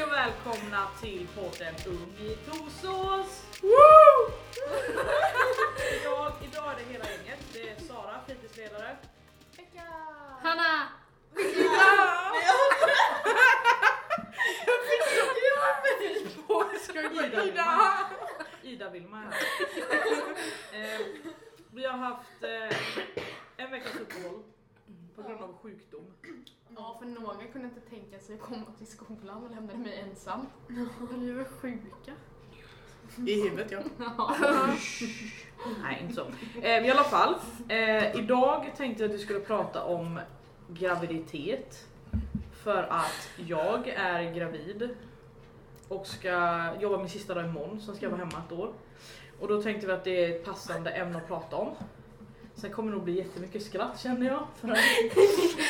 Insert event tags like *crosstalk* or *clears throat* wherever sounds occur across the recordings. välkomna till podden Ung i Torsås! idag, idag är det hela gänget. Det är Sara, fritidsledare. Hanna! Ida, Ida Vilma är här. eh, Vi har haft eh, en veckas uppehåll på grund av sjukdom. Ja, för några kunde inte tänka sig att komma till skolan och lämnade mig ensam. Ni var sjuka. I huvudet ja. Nej, inte så. Eh, I alla fall, eh, idag tänkte jag att vi skulle prata om graviditet. För att jag är gravid och ska jobba min sista dag imorgon, sen ska jag vara hemma ett år. Och då tänkte vi att det är ett passande ämne att prata om. Sen kommer det nog bli jättemycket skratt känner jag. För att,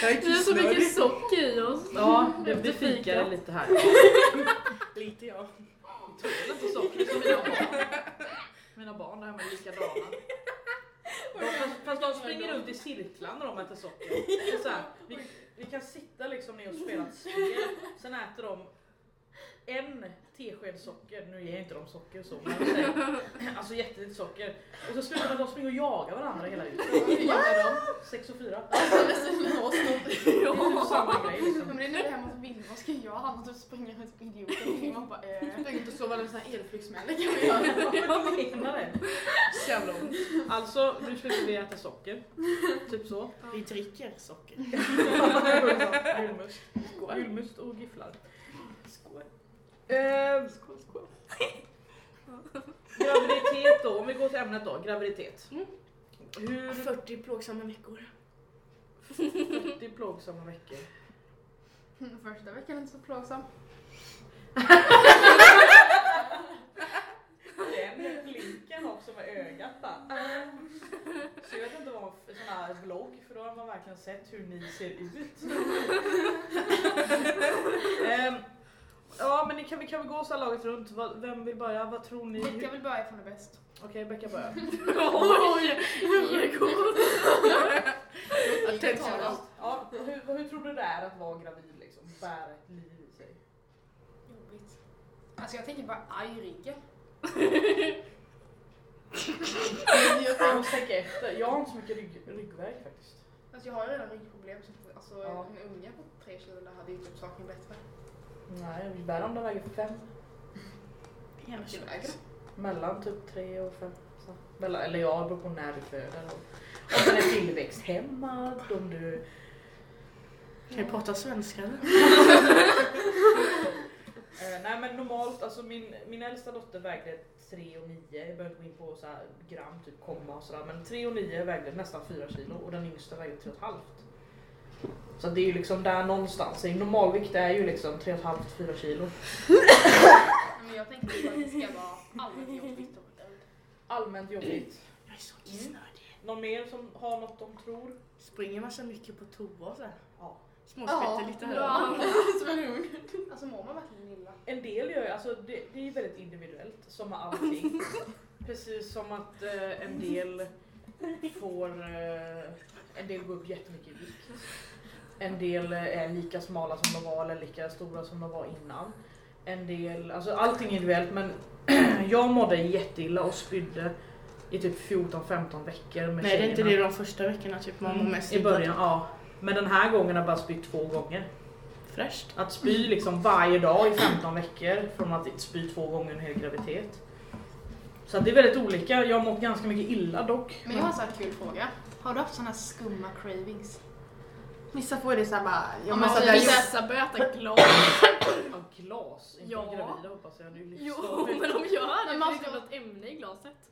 Jag är Det är så kissnödig. mycket socker i oss. ja, det blir fikare lite *laughs* här. Lite ja. Det är inte socker som mina barn. Mina barn där hemma är likadana. De, fast, fast de springer runt i cirklar när de äter *laughs* socker. Det är så här, vi, vi kan sitta liksom ner och spela ett spel, sen äter de en tesked socker, nu ger inte de socker så, men jag säger, *laughs* alltså jättelite socker. Och så slutar med att de springer och jagar varandra hela huset. Hur gör de? Sex och fyra. Slå oss Det är typ samma grej Men liksom. det är när jag är hemma hos Vilma och ska jag hamna och springa runt som idioter och Vilma bara eh. Jag tänkte sova en sån här elflygsmäll. Jag menar det. Så jävla ont. Alltså nu slutar vi äta socker, typ så. Vi dricker socker. Julmust. Julmust och gifflar. Skål. Eh, Skål, skål. graviditet då, om vi går till ämnet då, graviditet. Mm. Hur 40 plågsamma veckor. 40 plågsamma veckor? Mm, Första veckan är inte så plågsam. Den blinken också med ögat där. Så jag vet inte vad man, sån här vlogg, för då har man verkligen sett hur ni ser ut. Ehm, ja men ni kan, vi kan väl gå så här laget runt, Vad- vem vill börja? Vad tror ni? Vilka Hur- vill börja ifrån är bäst? Okej Becka börjar. Oj, herregud. Attention. Ja, hur, hur tror du det är att vara gravid liksom? Bära ett liv i sig? Jobbigt. Alltså jag tänker bara aj ryggen. Jag får tänka efter. Jag har inte så mycket rygg, ryggvärk faktiskt. Alltså jag har ju redan ryggproblem så att, alltså, Ja. en unge på tre kilo hade ju typ saken bättre. Nej, vi bär om den väger fem. Hela Mellan typ tre och fem. Så. Mellan, eller ja, det beror på när du föder. och- Om den är tillväxthämmad, om du... Kan vi prata svenska eller? Eh, nej men normalt, alltså min, min äldsta dotter vägde 3 och 9. Jag behöver inte gå in på så här gram, typ komma och sådär. Men 3 och 9 vägde nästan 4 kilo och den yngsta vägde 3,5. Så det är ju liksom där någonstans. En Normalvikt är ju liksom 3,5-4 kilo. Nej, men jag tänkte bara att det ska vara allmänt jobbigt och dumt. Allmänt jobbigt. Jag är så kissnödig. Någon mer som har något de tror? Springer man så mycket på toa och så här? Ja. Småskvätter lite här och Ja. *laughs* Som en ung. Alltså mår man verkligen illa? En del gör ju, alltså det, det är ju väldigt individuellt som med *laughs* allting. Precis som att eh, en del får, eh, en del går upp jättemycket i vikt. En del eh, är lika smala som de var eller lika stora som de var innan. En del, alltså allting är individuellt men *clears throat* jag mådde jätteilla och spydde i typ 14-15 veckor med Nej det är inte tjejerna. det de första veckorna typ man mår mest I början, ja. Men den här gången har jag bara spytt två gånger. Fräscht. Att spy liksom varje dag i 15 veckor från att inte spy två gånger en hel graviditet. Så att det är väldigt olika. Jag har mått ganska mycket illa dock. Men jag har en sån här kul fråga. Har du haft såna här skumma cravings? alltså, Vissa får det såhär bara, Ja, jag men alltså, måste vi ha gjort läsa börjar *laughs* äta glas. Ja, glas, inte Ja. gravida hoppas jag. Det är ju Jo, livsfarligt. men de gör det. Men alltså- för Det är man ska- något ämne i glaset.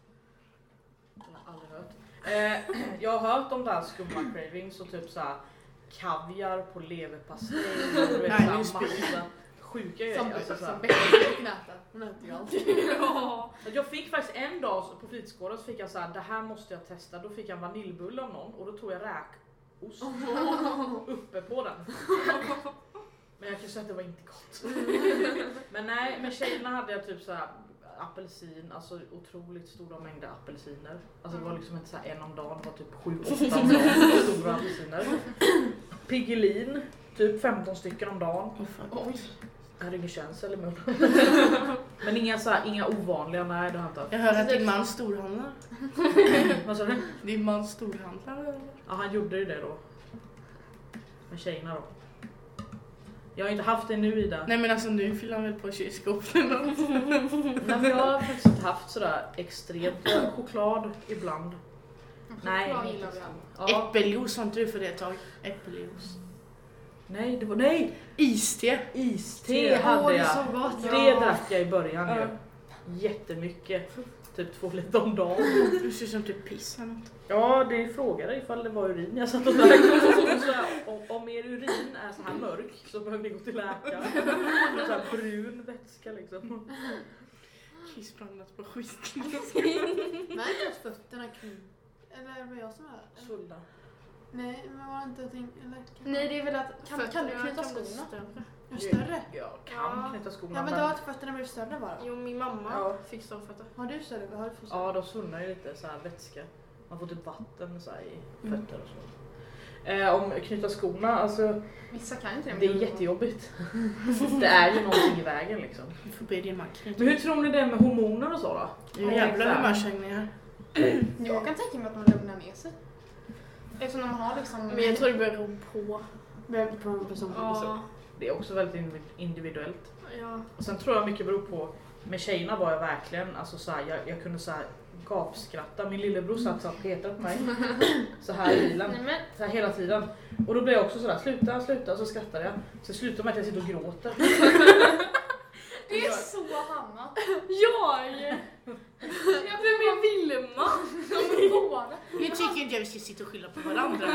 Jag har aldrig hört. Eh, jag har hört om det här skumma cravings och typ såhär kaviar på leverpastej. och du vet, Nej, så här nu spyr massa Sjuka grejer. som, alltså, så här. som Becky kan äta. Hon äter ju allt. Ja. Att Jag fick faktiskt en dag på fritidsgården så fick jag så här, det här måste jag testa. Då fick jag en vaniljbulle av någon och då tog jag räkost uppe på den. Men jag kan säga att det var inte gott. Men nej, med tjejerna hade jag typ så här apelsin, alltså otroligt stora mängder apelsiner. Alltså det var liksom inte så här en om dagen, det var typ sju, åtta om dagen. Stora apelsiner. Piggelin, typ 15 stycken om dagen. Åh fan. Oj. Jag hade ingen känsel i munnen. Men inga, så här, inga ovanliga, nej det har jag inte haft. Jag hör att din man storhandlar. Vad sa du? Din man storhandlar eller? Ja han gjorde ju det då. Med tjejerna då. Jag har inte haft det nu Ida. Nej men alltså nu fyller han väl på kylskåpet eller något. Nej, men jag har faktiskt inte haft sådär extremt choklad ibland. Nej, Choklad inte gillar vi så. alla. Eh. Ja. *laughs* Äppeljuice har inte du för det ett tag? Äppeljuice. Nej, det var nej! Iste. Iste Åh, hade det är jag. så gott. Det drack jag i början Ja. ju. Jättemycket. Typ två liter om dagen. *laughs* Du ser ut som typ piss eller något. Ja, det frågade ifall det var urin jag satt och drack. *laughs* Så här, om, om er urin är så här mörk så behöver ni gå till *laughs* läkaren. Så här brun vätska liksom. Kiss blandat på skit. Men är inte ens fötterna kring? Eller var det jag som var Svullna. Nej, men var det inte någonting? Eller? Nej det är väl att Kan- kan du knyta skorna? Är de större? Jag kan Ja. knyta skorna. Ja men då har fötterna blivit större bara. Jo, min mamma ja. fick stålfötter. Har du större? Har du fått ja, de svullnar ju lite så här vätska. Man får typ vatten så här, i fötter och så. Eh, om knyta skorna, alltså Vissa kan inte det. det är jättejobbigt. *laughs* det är ju någonting i vägen liksom. Du får be din man Men hur tror ni det är med hormoner och så då? Nu jävlar humörsvängningar. Jag kan tänka mig att man lugnar ner sig. Eftersom de har liksom... Men jag tror det beror på. Behöver inte vara person. Ja. Det är också väldigt individ- individuellt. ja. Och sen tror jag mycket beror på, med tjejerna var jag verkligen, alltså så här, jag, jag kunde så här gapskratta. Min lillebror satt så här och petade på mig. Så här i bilen. Nej men Så här hela tiden. Och då blev jag också sådär, sluta, sluta, och så skrattade jag. Så slutade med att jag sitter och gråter. det är så Hanna. Jag! Jag blev med Vilma. Båda. Nu tycker inte jag vi ska sitta och skylla på varandra.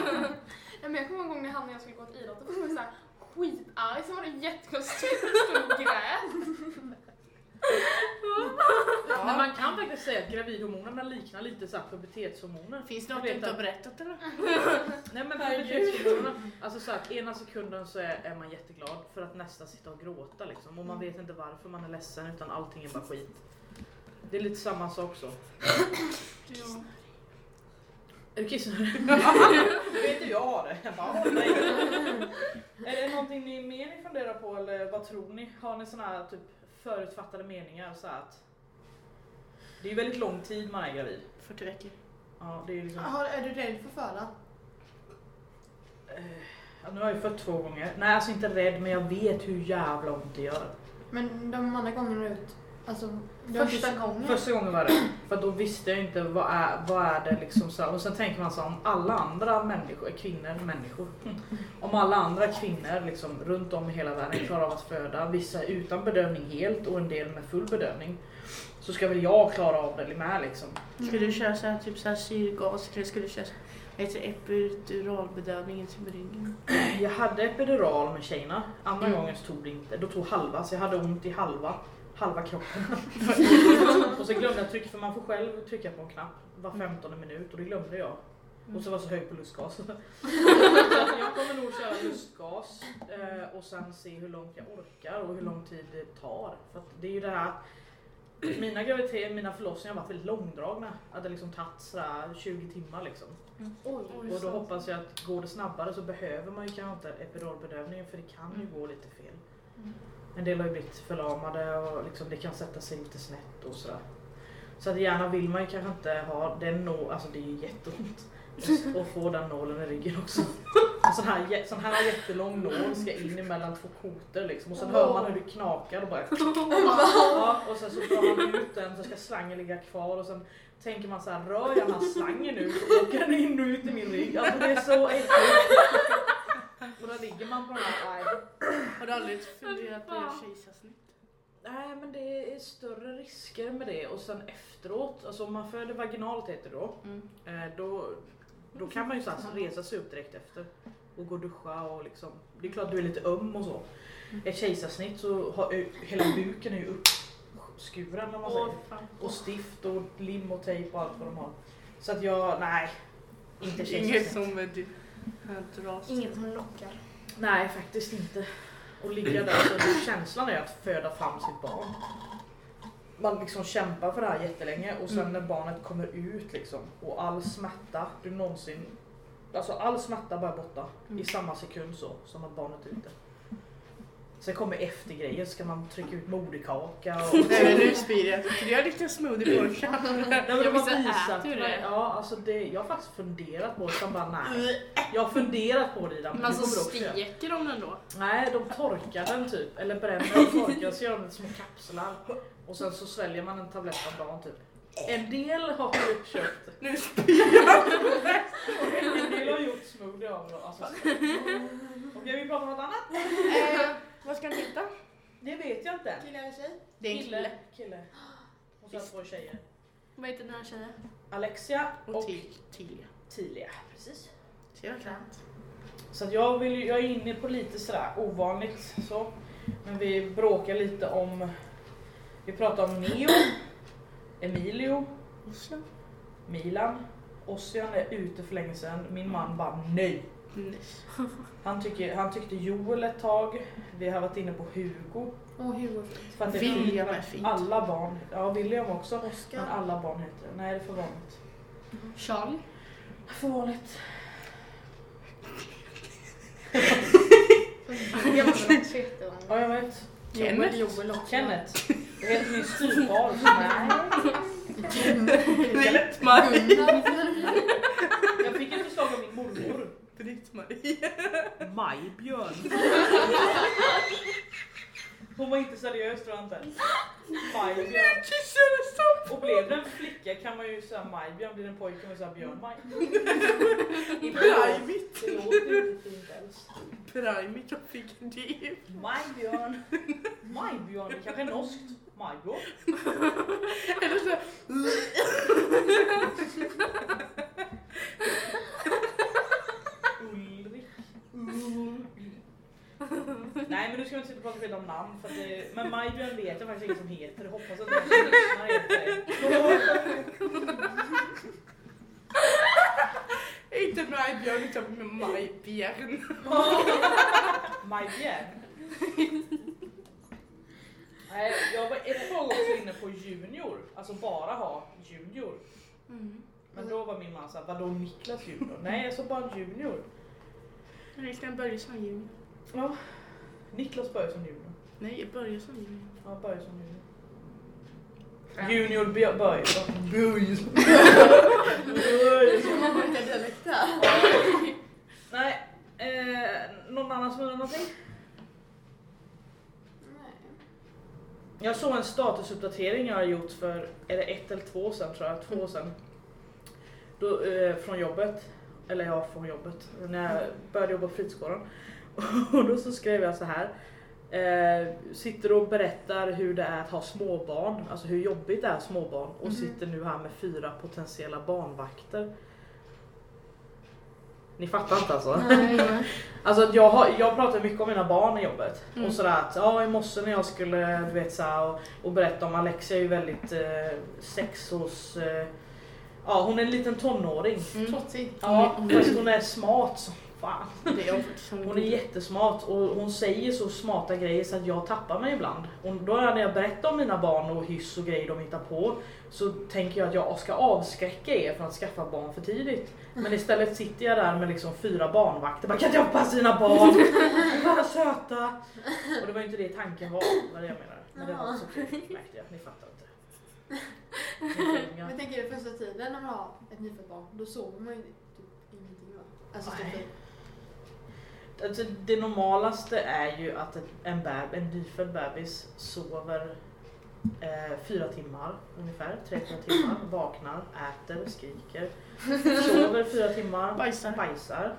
Ja, men jag kommer ihåg en gång när Hanna och jag skulle gå till idrott, då var jag såhär skitarg, sen var det jättekonstigt och grät. Men man kan faktiskt säga att gravidhormonerna liknar lite så här pubertetshormoner. Finns det något Jag du vet inte har att- berättat eller? Nej men pubertetshormonerna, alltså så här, att ena sekunden så är, är man jätteglad för att nästa sitta och gråta liksom. Och man vet inte varför man är ledsen utan allting är bara skit. Det är lite samma sak så. Ja. Är du kissnödig? *laughs* vet du jag har det. är det någonting ni mer ni funderar på eller vad tror ni? Har ni såna här typ förutfattade meningar? Så här att det är ju väldigt lång tid man är gravid. 40 veckor. Ja, det är ju liksom, Har, är du rädd för föda? eh, ja, nu har jag ju fött två gånger. Nej alltså inte rädd men jag vet hur jävla ont det gör. Men de andra gångerna ut? Alltså, det var Första, inte- Mm. gången? första gången var det. För att då visste jag inte vad är, vad är det liksom så här. Och sen tänker man så här, om alla andra människor, eh, kvinnor, människor. Om alla andra kvinnor liksom runt om i hela världen klarar av att föda, vissa utan bedövning helt och en del med full bedövning. Så ska väl jag klara av det med liksom. Ska du köra så här, typ så här syrgas eller ska du köra så här, vad heter det, epiduralbedövning i ryggen? Jag hade epidural med tjejerna, andra Mm. gången så tog det inte. Då tog halva så jag hade ont i halva, halva kroppen. och så glömde jag trycka, för man får själv trycka på en knapp var 15 minut och det glömde jag. Och så var jag så hög på lustgas. så att jag kommer nog köra lustgas eh, och sen se hur långt jag orkar och hur lång tid det tar. För att det är ju det här mina graviditeter, mina förlossningar har varit väldigt långdragna. Att det liksom tagit sådär 20 timmar liksom. Oj. Och då hoppas jag att går det snabbare så behöver man ju kanske inte epiduralbedövningen för det kan ju gå lite fel. En del har ju blivit förlamade och liksom det kan sätta sig lite snett och sådär. Så att gärna vill man ju kanske inte ha den nålen, alltså det är ju jätteont Just att få den nålen i ryggen också. En sån här, jä- sån här jättelång nål ska in emellan två koter liksom och sen hör man hur det knakar och bara ja, och sen så drar man ut den så ska slangen ligga kvar och sen tänker man så här rör jag den här slangen nu så åker den in och ut i min rygg. Alltså det är så äckligt. Och där ligger man på den här nej. Har du aldrig funderat på att göra fan. kejsarsnitt? Nej men det är större risker med det och sen efteråt, alltså om man föder vaginalt heter det då, Mm. eh, då, då kan man ju så här resa sig upp direkt efter och gå och duscha och liksom, det är klart du är lite öm och så. Ett kejsarsnitt så har ju, hela buken är ju uppskuren om man säger. Åh, fan. Och stift och lim och tejp och allt vad de har. Så att jag, nej. Inte Inget kejsarsnitt. som du dras Inget som lockar. Nej faktiskt inte. Och ligga där, så det- känslan är att föda fram sitt barn. Man liksom kämpar för det här jättelänge och sen Mm. när barnet kommer ut liksom och all smärta du någonsin, alltså all smärta bara borta Mm. i samma sekund så som att barnet är ute. Sen kommer eftergrejer så ska man trycka ut moderkaka *laughs* och... Nej men nu spyr jag. Ska jag lite smoothie på Nej, men de Ja, har vissa visat äter ju mig- det. Ja, alltså det, jag har faktiskt funderat på det, sen bara nej. Jag har funderat på det Ida, Men men du alltså kommer också göra. steker de den då? Nej, de torkar den typ, eller bränner den och torkar så gör de små kapslar. Och sen så sväljer man en tablett om dagen typ. En del har typ köpt, *laughs* Nu spyr jag. en del har gjort smoothie av dem. Alltså, så- Okej, vi pratar om något annat? Eh, Vad ska ni hitta? Det vet jag inte. Kille eller tjej? Det är en kille. Kille. Och sen två tjejer. Vad heter den här tjejen? Alexia Och och till. till. Tilia. Precis. Ser jag klart? Så att jag, vill, ju- jag är inne på lite sådär ovanligt så. Men vi bråkar lite om... Vi pratar om Neo, Emilio, Milan. Ossian är ute för länge sedan. Min man bara nej. Nice. Han, tycker, han tyckte Joel ett tag. Vi har varit inne på Hugo. Åh, Hugo är fint. För att det William är fint. Alla barn. Ja, William också. Men Oscar. alla barn heter det. Nej, det är för vanligt. Charlie? För vanligt. Jag var också jätteung. Ja, jag vet. Kenneth. Joel också. Kenneth. Det heter min styvfar. som är- Britt-Marie. Jag fick ett förslag av min mormor. Britt-Marie. Majbjörn. Hon var inte seriös tror jag inte. Majbjörn. Och blev det en flicka kan man ju säga Majbjörn, blir det en pojke kan man säga Björn-Maj. *laughs* Prajmit. Det låter ju inte fint alls. Prajmit jag fick en dyr. Majbjörn. Majbjörn, det kanske är norskt. Majbjörn. Eller så... Ulrik. Nej men nu ska vi inte sitta och prata skit om namn. För att det, men Majbjörn vet jag faktiskt ingen som heter. Hoppas att någon som lyssnar heter det. Inte Brajbjörn utan Majbjörn. Majbjörn. *laughs* Nej, jag var ett tag också inne på junior, alltså bara ha junior. Mm. Men då var min man såhär, vadå Niklas junior? Nej, jag såg bara en junior. Christian Börjesson junior. Ja. Niklas började som junior. Nej, Börjesson junior. Ja, började som junior. Junior Björ- Börjesson. Börjesson. Man har olika dialekter. *laughs* Nej, eh, någon annan som undrar någonting? Nej. Jag såg en statusuppdatering jag har gjort för är det ett eller två år sedan tror jag, två år sedan. Då, eh, från jobbet, eller ja från jobbet, när jag började jobba på fritidsgården. *laughs* Och då så skrev jag så här. Eh, sitter och berättar hur det är att ha småbarn, alltså hur jobbigt det är att ha småbarn och Mhm. sitter nu här med fyra potentiella barnvakter. Ni fattar inte *laughs* alltså? Alltså att jag, har, jag pratar mycket om mina barn i jobbet. Mm. Och sådär att ja, i morse när jag skulle du vet, så här, och, och berätta om Alexia är ju väldigt eh, sex hos... Eh, ja hon är en liten tonåring. Mm. Trotsig. Ja, fast hon är smart som fan. Det är jag faktiskt som Hon är jättesmart och hon säger så smarta grejer så att jag tappar mig ibland. Och då när jag berättar om mina barn och hyss och grejer de hittar på så tänker jag att jag ska avskräcka er från att skaffa barn för tidigt. Men istället sitter jag där med liksom fyra barnvakter bara kan inte jag passa dina barn? De är Bara söta! Och det var ju inte det tanken var, vad det jag menar. Men det var så kul, märkte jag. Ni fattar inte. Ni är Men flinga. jag tänker den första tiden när man har ett nyfött barn, då sover man ju typ ingenting va? Alltså Nej. typ Alltså, det normalaste är ju att ett- en, beb, en nyfödd bebis sover eh, fyra timmar ungefär, tre fyra timmar, vaknar, äter, skriker, sover fyra timmar, Bajsar. bajsar,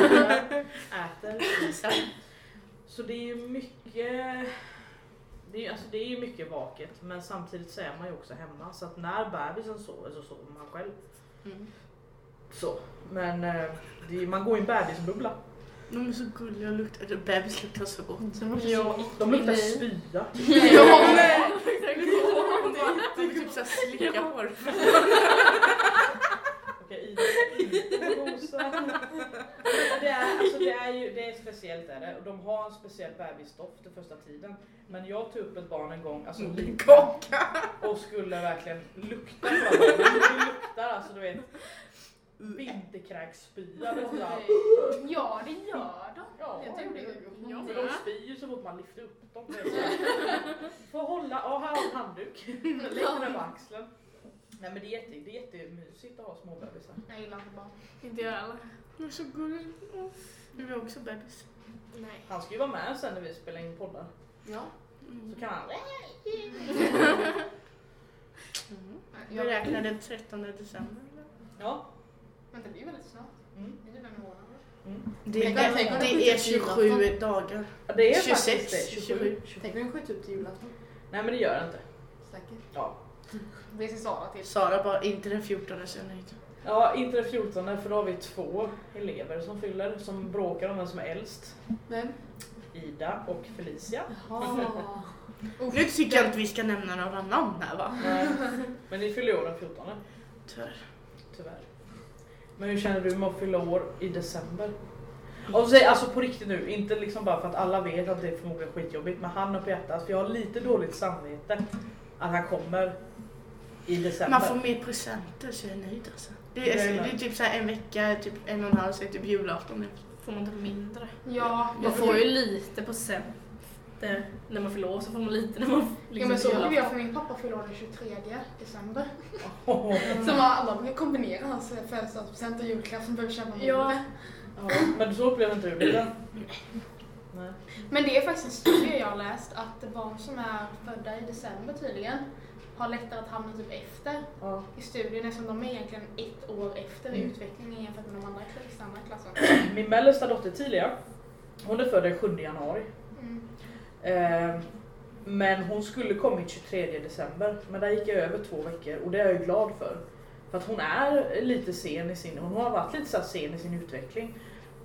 vaknar, äter, Bajsar. så det är ju mycket det är, ju- alltså det är ju mycket vaket men samtidigt så är man ju också hemma så att när bebisen sover så sover man själv. Mm. Så. Men eh, det är, man går i en bebisbubbla. De är så gulliga och luktar... eller Bebis luktar så gott. De luktar spya. Ja, nej! De vill typ såhär slicka på det. Okej, Ida inte rosa. det, är, alltså det, är ju, det är speciellt är det och de har en speciell bebisdoft den första tiden. Men jag tog upp ett barn en gång, alltså Mm. liten, och skulle verkligen lukta på det. Det luktar alltså du vet. Vinterkräksspya eller något sånt. Ja, det gör de. Ja, Jag tror det gör de. Ja. För de spyr ju så fort man lyfter upp dem. Det är så här, Får hålla, ja här har du en handduk. Lägg den över axeln. Nej men det är, jätte, det är jättemysigt att ha småbebisar. Jag gillar inte barn. Inte jag heller. Det är så gulligt. Åh, Du är också bebis. Nej. Han ska ju vara med sen när vi spelar in poddar. Ja. Så kan han Mm. Jag, Beräknar den 13 december. eller? Ja. men det blir väldigt snart. Mm. Det är typ en månad. Mm. Det Jag kan tänka är, mig det är att det är 27 dagar. Ja, Det är 26, faktiskt det. 27. Tänk om den skjuter upp till julafton. Nej men det gör jag inte. Säkert. Ja. Det ser Sara till. Sara bara, inte den 14 sen jag inte. ja, inte den 14 för då har vi två elever som fyller som bråkar om vem som är äldst. Men. Ida och *laughs* Felicia. Jaha. *laughs* Nu tycker jag inte vi ska nämna några namn här va? Nej, Men ni fyller år den 14 Tyvärr. tyvärr. Men hur känner du med att fylla år i december? Och säg alltså på riktigt nu, inte liksom bara för att alla vet att det är förmodligen skitjobbigt men han på hjärtat för jag har lite dåligt samvete att han kommer i december. Man får mer presenter så jag är nöjd alltså. Det Jag är, är det med. är typ så här en vecka, typ en och en halv, så är det typ julafton. Får man inte mindre? Ja, Man får ju lite på sen. Det, när man fyller år så får man lite när man liksom Ja men så fyller blev år. jag för min pappa fyller år den 23 *laughs* december. Åh, Så man alla brukar kombinera hans födelsedagspresent och julklapp som behöver köpa Ja. ja, men så upplever inte du det? Nej. Men det är faktiskt en studie jag har läst att barn som är födda i december tydligen har lättare att hamna typ efter Ja. i studien eftersom de är egentligen ett år efter i Mm. utvecklingen jämfört med de andra i samma klassen. Min mellersta dotter Tilia, hon är född den 7 januari. Mm. Eh, men hon skulle kommit 23 december, men där gick jag över två veckor och det är jag ju glad för. För att hon är lite sen i sin, hon har varit lite så här sen i sin utveckling.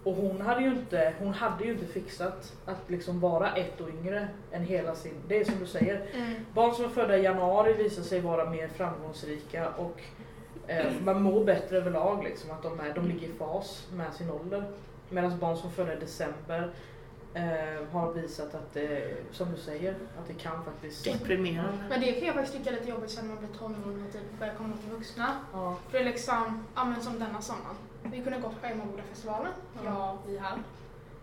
Och hon hade ju inte, hon hade ju inte fixat att liksom vara ett år yngre än hela sin, det är som du säger, Barn som är födda i januari visar sig vara mer framgångsrika och *clears throat* eh, man mår bättre överlag. Liksom, att de, är, de ligger i fas med sin ålder. Medan barn som är födda i december eh, har visat att det, som du säger, att det kan faktiskt... Deprimerande. Men det kan jag faktiskt tycka är lite jobbigt sen när man blir tonåring och typ börjar komma till vuxna. Ja, För det är liksom, ja men som denna sommaren. Vi kunde gått på Emmaboda-festivalen. Ja, vi här.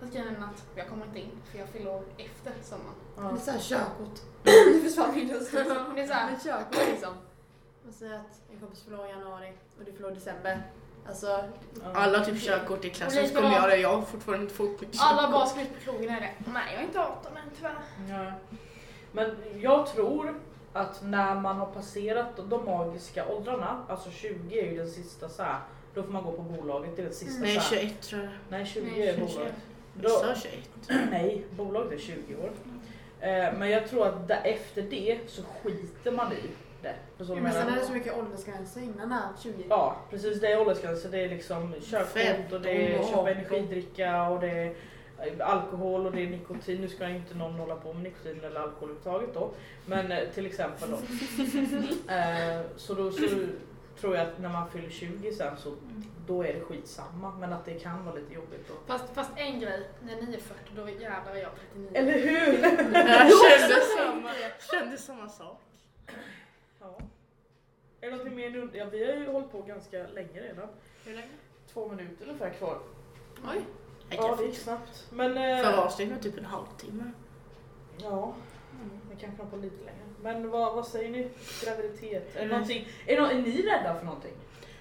Fast grejen är att jag kommer inte in för jag fyller år efter sommaren. Det är ja. *laughs* såhär körkort. Nu försvann min röst. också. Men det är *laughs* såhär, Men körkort liksom. Man säger att en kompis förlorar i januari och du förlorar i december. Alltså, Alla typ körkort i klassen Och skulle likadant. göra det. Jag har fortfarande inte fått mitt alla bara körkort. ska ut på krogen är det. Nej, jag är inte 18 än tyvärr. Ja. Men jag tror att när man har passerat de magiska åldrarna, alltså 20 är ju den sista så här, då får man gå på bolaget, det är den sista Nej, så här. 21 tror jag. Nej 20 Nej, är 21. bolaget. Jag Då, sa *laughs* 21. Nej, bolaget är 20 år. Eh, Men jag tror att där- efter det så skiter man i det. Förstår du men vad jag sen är menar? det så mycket åldersgränser innan det här 20. *laughs* Ja precis, det är åldersgränser. Det är liksom körkort och det är 15 köpa år. energidricka och det är eh, alkohol och det är nikotin. Nu ska ju inte någon hålla på med nikotin eller alkohol överhuvudtaget då. Men eh, till exempel *laughs* då. Eh, Så då så tror jag att när man fyller 20 sen så då är det skitsamma. Men att det kan vara lite jobbigt då. Fast, fast en grej, när ni är 40 då jävlar är jag 39. Eller hur? Jag *laughs* kände samma, kände samma sak. Ja. Är det något mer ni und- ja, Vi har ju hållit på ganska länge redan. Hur länge? Två minuter ungefär kvar. Oj. Ja, det gick snabbt. Men... eh, Förra avsnittet var typ en halvtimme. ja, vi kanske har på lite längre. Men vad, vad säger ni? Graviditet? Är, det Mm. någonting, är, nå- är ni rädda för någonting?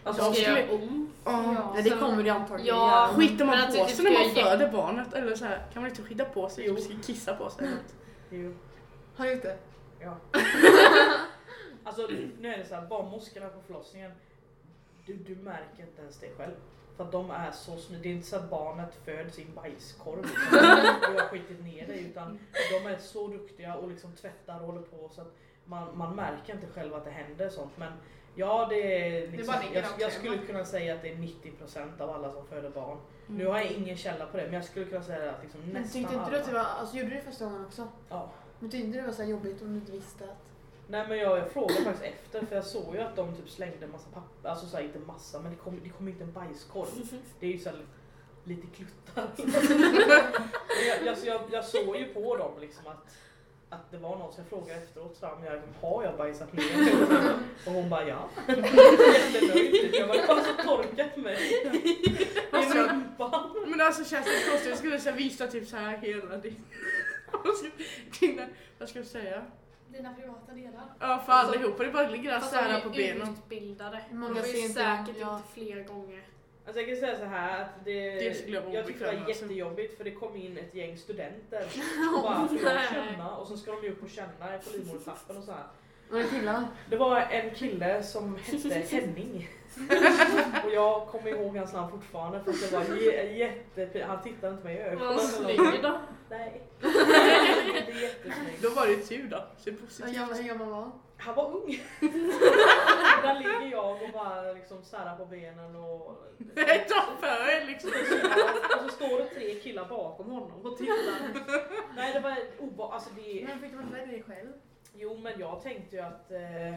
Alltså, Jag Ska skulle- jag göra om? Ja, det sen- kommer det antagligen Ja. göra. Skiter man Men att på du sig typ när ska man ge- föder barnet? Eller så här, kan man liksom skita på sig? Jo. Typ ska kissa på sig? eller något? ju- Har du gjort det? Ja. alltså nu är det så här, barnmorskorna på förlossningen, du, du märker inte ens det själv. För att de är så smidiga. Det är inte så att barnet föds i en bajskorv *laughs* liksom, och har skitit ner dig utan de är så duktiga och liksom tvättar och håller på så att man, man märker inte själv att det händer sånt. Men ja, det är liksom, bara ligger jag, där och jag klämmer. skulle kunna säga att det är 90% av alla som föder barn. Nu Mm. har jag ingen källa på det men jag skulle kunna säga att liksom Men nästan tyckte inte du alla. att det var, alltså gjorde du det första gången också? Ja. Men tyckte inte det var så här jobbigt om du inte visste att... Nej men jag, jag frågade faktiskt efter för jag såg ju att de typ slängde en massa papper, alltså såhär, inte massa men det kom, det kom inte en bajskorv. Det är ju såhär lite kluttar. Men jag, jag, så jag, jag såg ju på dem liksom att, att det var någon så jag frågade efteråt såhär, men jag, har jag bajsat ner? Och Och hon bara ja. Jättenöjd. typ. Jag bara, jag har så torkat mig i Alltså, rumpan. men alltså känns det konstigt? Jag skulle så här visa typ så här hela din... *laughs* Dina, vad ska jag säga? Dina privata delar. Ja för allihopa, det bara ligger där Fast de är särar ju på benen. utbildade. Många de har ju ser inte- säkert ja. gjort flera gånger. Alltså jag kan säga så här att det, Det skulle jag vara jag tyckte det obekväm, var alltså. jättejobbigt för det kom in ett gäng *laughs* studenter och bara ska de känna och så ska de ju upp och känna på livmodertappen och så här. Och det är killar. Det var en kille som *laughs* hette Henning. och jag kommer ihåg hans namn fortfarande för att det var jä- jätte... Han tittade inte mig i Var ögonen. han eller snygg någonting. då? Nej. Det är jättesnyggt. Då var det ju tur då. Se Hur positivt. *laughs* gammal hur gammal var han? Han var ung. Där ligger jag och bara liksom särar på benen och... Nej ta för er liksom. Och så Alltså, står det tre killar bakom honom och tittar. Nej det var oba... Alltså det... Men fick du inte välja dig själv? Jo men jag tänkte ju att... Eh...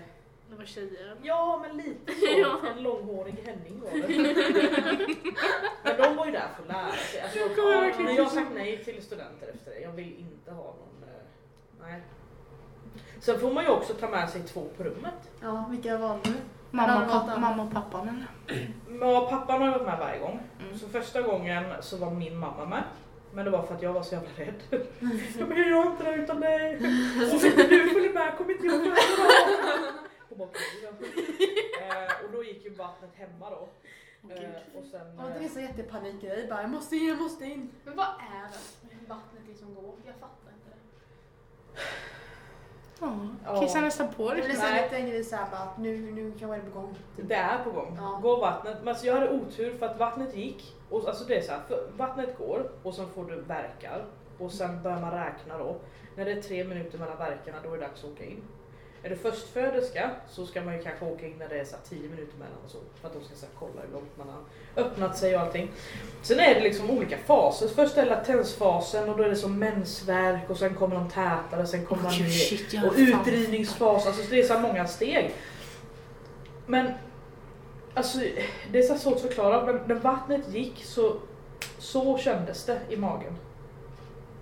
Det var tjejer. Ja men lite *laughs* Ja. så. En långhårig Henning var det. Men de var ju där för att lära sig. Alltså, Jag kommer ja, verkligen men inte jag har ihåg. sagt nej till studenter efter det. Jag vill inte ha någon... Eh... Nej. Sen får man ju också ta med sig två på rummet. Ja, vilka valde du? Mamma och pappa- mamma och pappan eller? Ja, pappan har varit med varje gång. Mm. Så första gången så var min mamma med. Men det var för att jag var så jävla rädd. Jag bara, jag gör inte det här utan dig. Och så inte du följer med, kom inte jag följa med. Hon bara, "Okej då." Eh, Och då gick ju vattnet hemma då. Eh, Och sen... Var inte eh, Lisa jättepanik i dig? Bara, jag måste in, jag måste in. Men vad är det med vattnet liksom går? Jag fattar inte det. Ja, kissa nästan på Det dig. blir så Nej. lite en grej såhär bara att nu, nu kan vara det på gång. Typ. Det är på gång. Ja. Går vattnet. Men alltså jag hade otur för att vattnet gick. Och alltså det är så här, för vattnet går och sen får du verkar. Och sen börjar man räkna då. När det är tre minuter mellan verkarna då är det dags att åka in. Är du förstföderska så ska man ju kanske åka in när det är så här 10 minuter mellan och så. För att de ska så här kolla hur långt man har öppnat sig och allting. Sen är det liksom olika faser. Först är latensfasen och då är det som mensvärk och sen kommer de tätare, sen kommer man Oj, ner. shit, jag Och har fan- utdrivningsfas, alltså det är så här många steg. Men alltså det är så här svårt att förklara men när vattnet gick så, så kändes det i magen.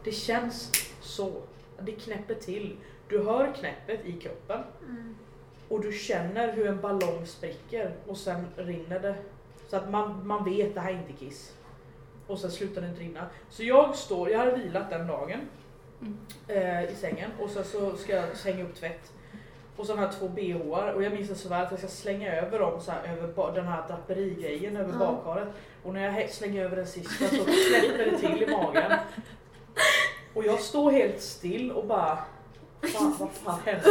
Det känns så. Det knäpper till. Du hör knäppet i kroppen och du känner hur en ballong spricker och sen rinner det. Så att man, man vet det här är inte kiss. Och sen slutar det inte rinna. Så jag står, jag hade vilat den dagen Mm. eh, i sängen och sen så ska jag hänga upp tvätt. Och så har jag två bhar och jag minns det så väl att jag ska slänga över dem så här, över ba- den här draperigrejen över Ja. badkaret. Och när jag hä- slänger över den sista så släpper det till i magen. Och jag står helt still och bara Fan, vad fan hände?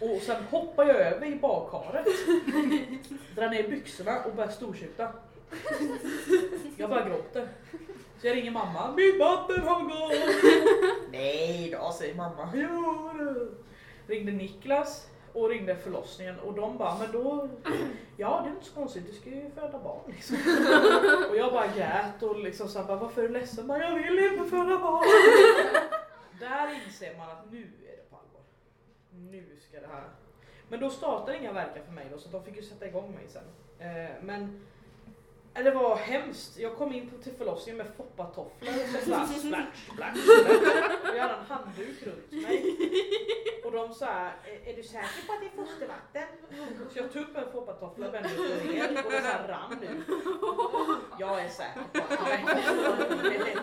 Och sen hoppar jag över i badkaret, drar ner byxorna och börjar stortjuta. *laughs* Jag bara gråter. Så jag ringer mamma. Mitt vatten har gått! Nej då säger mamma. Jo då. Ringde Niklas och ringde förlossningen och de bara, men då, ja det är inte så konstigt, du ska ju föda barn liksom. Och jag bara grät och liksom så här, bara, varför är du ledsen? Bara, jag vill inte föda barn! Där inser man att nu är det på allvar. Nu ska det här. Men då startade inga verkar för mig då så de fick ju sätta igång mig sen. Eh, men eh, det var hemskt. Jag kom in på till förlossningen med foppatofflor och så bara splash, splash, splash. Och jag hade en handduk runt mig. Och de sa, "Är- är du säker på att det är fostervatten? Så jag tog upp en foppatoffla, vände upp och ner och det så här rann ut. Jag är säker på att det är fostervatten.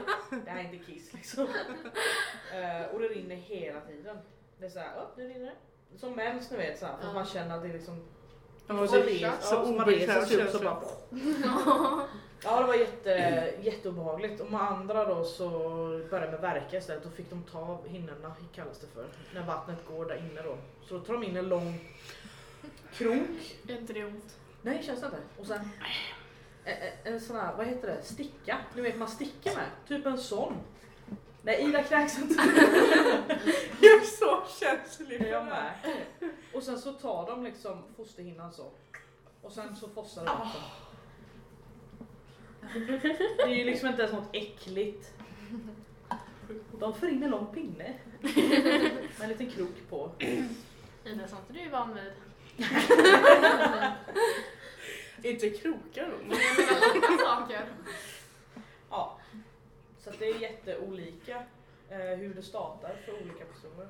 Det här är inte kiss liksom. Eh, och det rinner hela tiden. Det är såhär, upp nu rinner det. Som mens ni vet såhär, för Ja. man känner att det är liksom... Jag var Så så- res- ja, Så så man reser obekväm sig upp så känsla. bara... *laughs* Ja det var jätte, jätteobehagligt. Och med andra då så började de med verka istället. Då fick de ta av hinnorna kallas det för. När vattnet går där inne då. Så då tar de in en lång krok. Är inte det ont? Nej känns det inte. Och sen en, en sån här, vad heter det, sticka. Du vet man sticker med. Typ en sån. Nej Ida kräks inte. Jag är *laughs* så känslig för Det är jag det med. här. Och sen så tar de liksom fosterhinnan så. Och sen så fossar det vatten. Det är ju liksom inte ens något äckligt. De får in en lång pinne. Med en liten krok på. Ida, sånt är du ju van vid. Inte krokar hon? Men jag menar andra saker. Ja. Så att det är jätteolika eh, hur det startar för olika personer.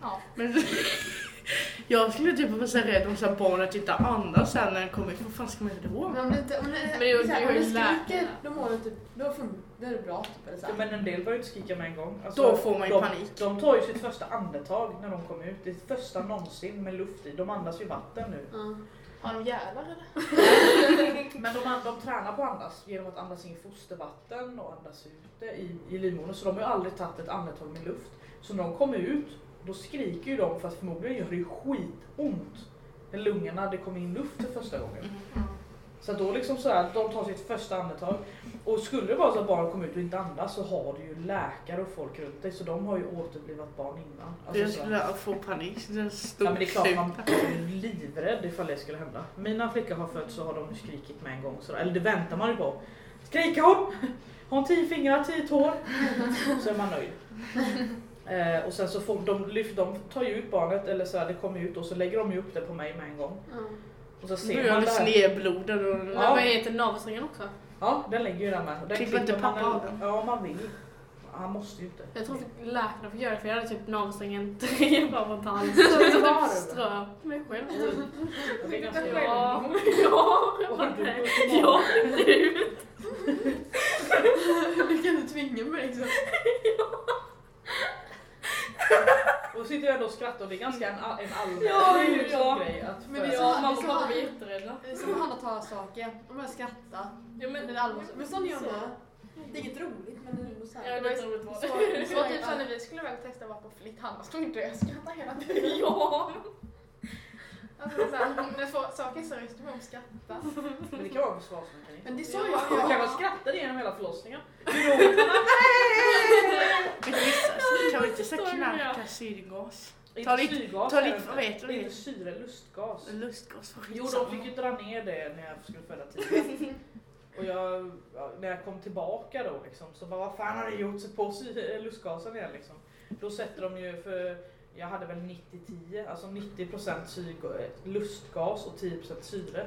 Ja. Men *laughs* jag skulle typ vara så här rädd om så här barnet inte andas sen när den kommer ut. Vad fan ska man göra då? Men om du inte... Om du, Men det är ju- så här, det är om ju du skriker, läkarna. då mår du typ... Då, fun- då är det bra typ. Eller så Ja, här. men en del börjar inte skrika med en gång. Alltså, Då får man ju de, panik. De tar ju sitt första andetag när de kommer ut. Det är första någonsin med luft i. De andas ju vatten nu. Ja. Har de jävlar *laughs* eller? Men de, an- de tränar på att andas genom att andas in fostervatten och andas ut det i, i livmodern. Så de har ju aldrig tagit ett andetag med luft. Så när de kommer ut, då skriker ju de för att förmodligen gör det ju skitont. När lungorna, det kommer in luft för första gången. Så att då liksom så här, de tar sitt första andetag. Och skulle det vara så att barn kommer ut och inte andas så har du ju läkare och folk runt dig. Så de har ju återblivat barn innan. Alltså jag så här. skulle få panik. Det är en stor Ja men det är klart man klump. är livrädd ifall det skulle hända. Mina flickor har fötts så har de skrikit med en gång. Så, eller det väntar man ju på. Skriker hon? Har hon tio fingrar, tio tår? Så är man nöjd. Eh, och sen så får de, lyft, de tar ju ut barnet eller så här, det kommer ut och så lägger de ju upp det på mig med en gång. Och så Nu ser är man det det här. snedblodad Men och... Ja. vad heter navelsträngen också? Ja den lägger ju där med. Och Den Klipper inte klipper man pappa väl- av den? Ja om man vill. Han måste ju inte. Jag *laughs* tror inte läkarna får göra det för jag hade typ *laughs* navelsträngen trevar mot halsen. Så det Så var typ det? ströp mig själv. Det är ganska Ja, ja, jag Har du bara, gått i ja, du. *laughs* Du kan inte tvinga mig liksom. Och sitter jag ändå och skrattar och det är ganska en, all- en allmän Ja, det är ju liksom jag. grej att Men det är föda. jag. Mamma och pappa var jätterädda. Det är som att han tar saker. Om jag skrattar. Ja, Men men, det är allvarligt. Men sån är jag Så. med. Det är inget roligt men det är ändå så Ja, här. det var roligt var Så, det. så typ så när vi skulle väl testa att vara på flit, Hanna stod inte och jag skrattade hela tiden. Ja. Alltså, så här, när får saker är seriöst, då börjar de skratta. Men det kan vara en försvarsmekanism. Men det är så Ja, jag jag gör. kanske skrattade genom hela *laughs* förlossningen. Gråtarna. Men vissa alltså, *laughs* kan väl inte så Förstår du vad jag- knarka syrgas? Inte Ta lite- syrgas. Ta är det lite, inte. vad heter Det är det? inte syre, lustgas. Lustgas. Jo, de fick ju dra ner det när jag skulle föda tidigt. Och jag, ja, när jag kom tillbaka då liksom, så bara vad fan har ni gjort? Sätt på sy- eh, lustgasen igen liksom. Då sätter de ju, för jag hade väl 90-10, alltså 90% syrgo- eh, lustgas och 10% syre.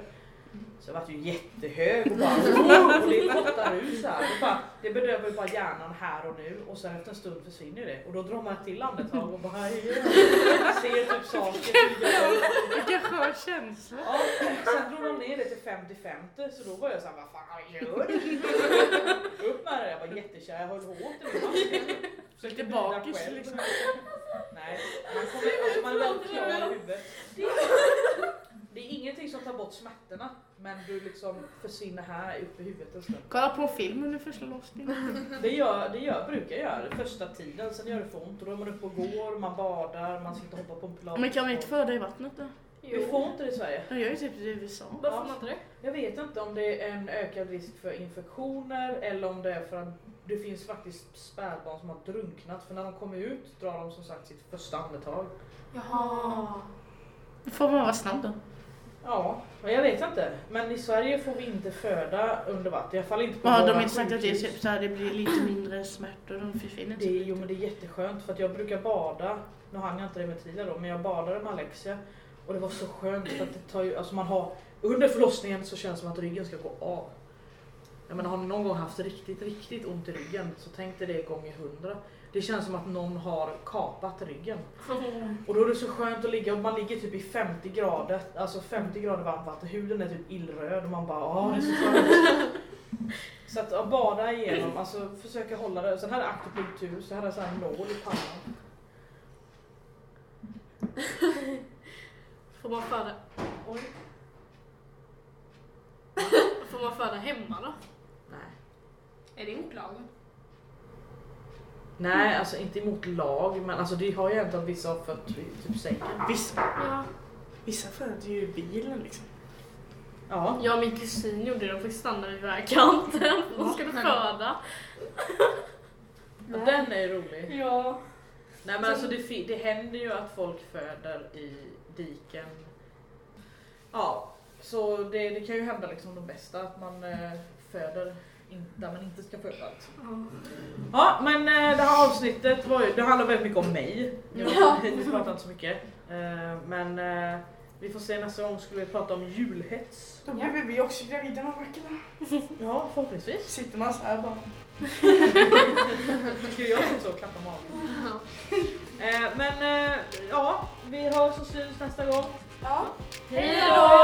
Så jag vart ju jättehög och bara *laughs* och det lottar ut så här. Och bara, det bedövar ju bara hjärnan här och nu och sen efter en stund försvinner ju det. Och då drar man ett till andetag och bara "Hej, jag ser typ saker. Jag- Vilken skön känsla. Ja, sen drog de ner det till 50-50 så då var jag såhär, vad fan gör du? Upp med det, jag var jättekär, jag höll hårt i min mask. Lite bakis, liksom. Nej, man kommer, alltså man lär klara huvudet. Det är, det är ingenting som tar bort smärtorna, men du liksom försvinner här uppe i huvudet en stund. Kolla på film under första lossningen. Det, gör, det gör, brukar jag göra första tiden, sen gör det för ont och då är man uppe och går, man badar, man sitter och hoppar på en pilates. Men kan man inte föda i vattnet då? Vi Jo. får inte det i Sverige. Jag är typ i USA. Varför får man inte det? Jag vet inte om det är en ökad risk för infektioner eller om det är för att det finns faktiskt spädbarn som har drunknat för när de kommer ut drar de som sagt sitt första andetag. Jaha. Då får man vara snabb då. Ja, men jag vet inte. Men i Sverige får vi inte föda under vatten. I alla fall inte på Vad har våra de inte sagt att det är sjukhus. typ såhär, det blir lite mindre smärtor, de försvinner Det är, typ jo men lite. det är jätteskönt för att jag brukar bada, nu hann jag inte det med Tila då, men jag badade med Alexia och det var så skönt för att det tar ju, alltså man har, under förlossningen så känns det som att ryggen ska gå av. Jag menar har ni någon gång haft riktigt, riktigt ont i ryggen så tänk dig det gånger hundra. Det känns som att någon har kapat ryggen. Och då är det så skönt att ligga, och man ligger typ i 50 grader, alltså 50 grader varmt vatten, huden är typ illröd och man bara åh det är så skönt. Så att ja, bada igenom, alltså försöka hålla det. Sen hade jag akupunktur, så hade jag så här nål i pannan. Får man föda? *laughs* Oj. Får man föda hemma då? Nej. Är det mot lagen? Nej, alltså inte emot lag, men alltså det har ju hänt att vissa har fött i typ sängen. Vissa, Ja. vissa föder ju i bilen liksom. Ja. Jag och min kusin gjorde det, de fick stanna vid vägkanten. De skulle föda. ja. Den är ju rolig. Ja. Nej men alltså det, fi- det händer ju att folk föder i diken. Ja, så det, det kan ju hända liksom de bästa, att man eh, föder in, där man inte ska föda. Liksom. Ja, men eh, det här avsnittet var ju, det handlar väldigt mycket om mig. Jag, Vi pratar inte så mycket. Eh, men eh, Vi får se nästa gång skulle vi prata om julhets. Då blir vi också gravida någon vecka. Ja, förhoppningsvis. Sitter man så här bara. Skulle jag som så klappa magen. Eh, men eh, ja, vi hörs och syns nästa gång. Ja. Hej då!